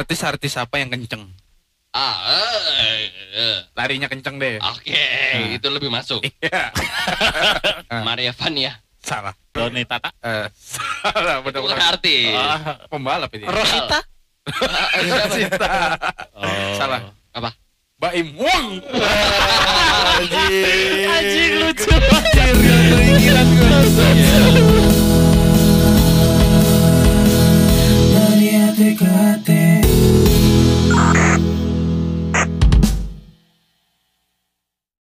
artis-artis apa yang kenceng? Ah, eh, eh, Larinya kenceng deh. oke, Nah. itu lebih masuk. Iya, Ah. Maria Vania. salah. Doni Tata. Eh, salah Itu bukan benar-benar. artis. Ah, Pembalap ini. Rosita? Rosita. oh. Salah. Apa? Baim Wong. Anjing lucu. Anjing kepikiran gue.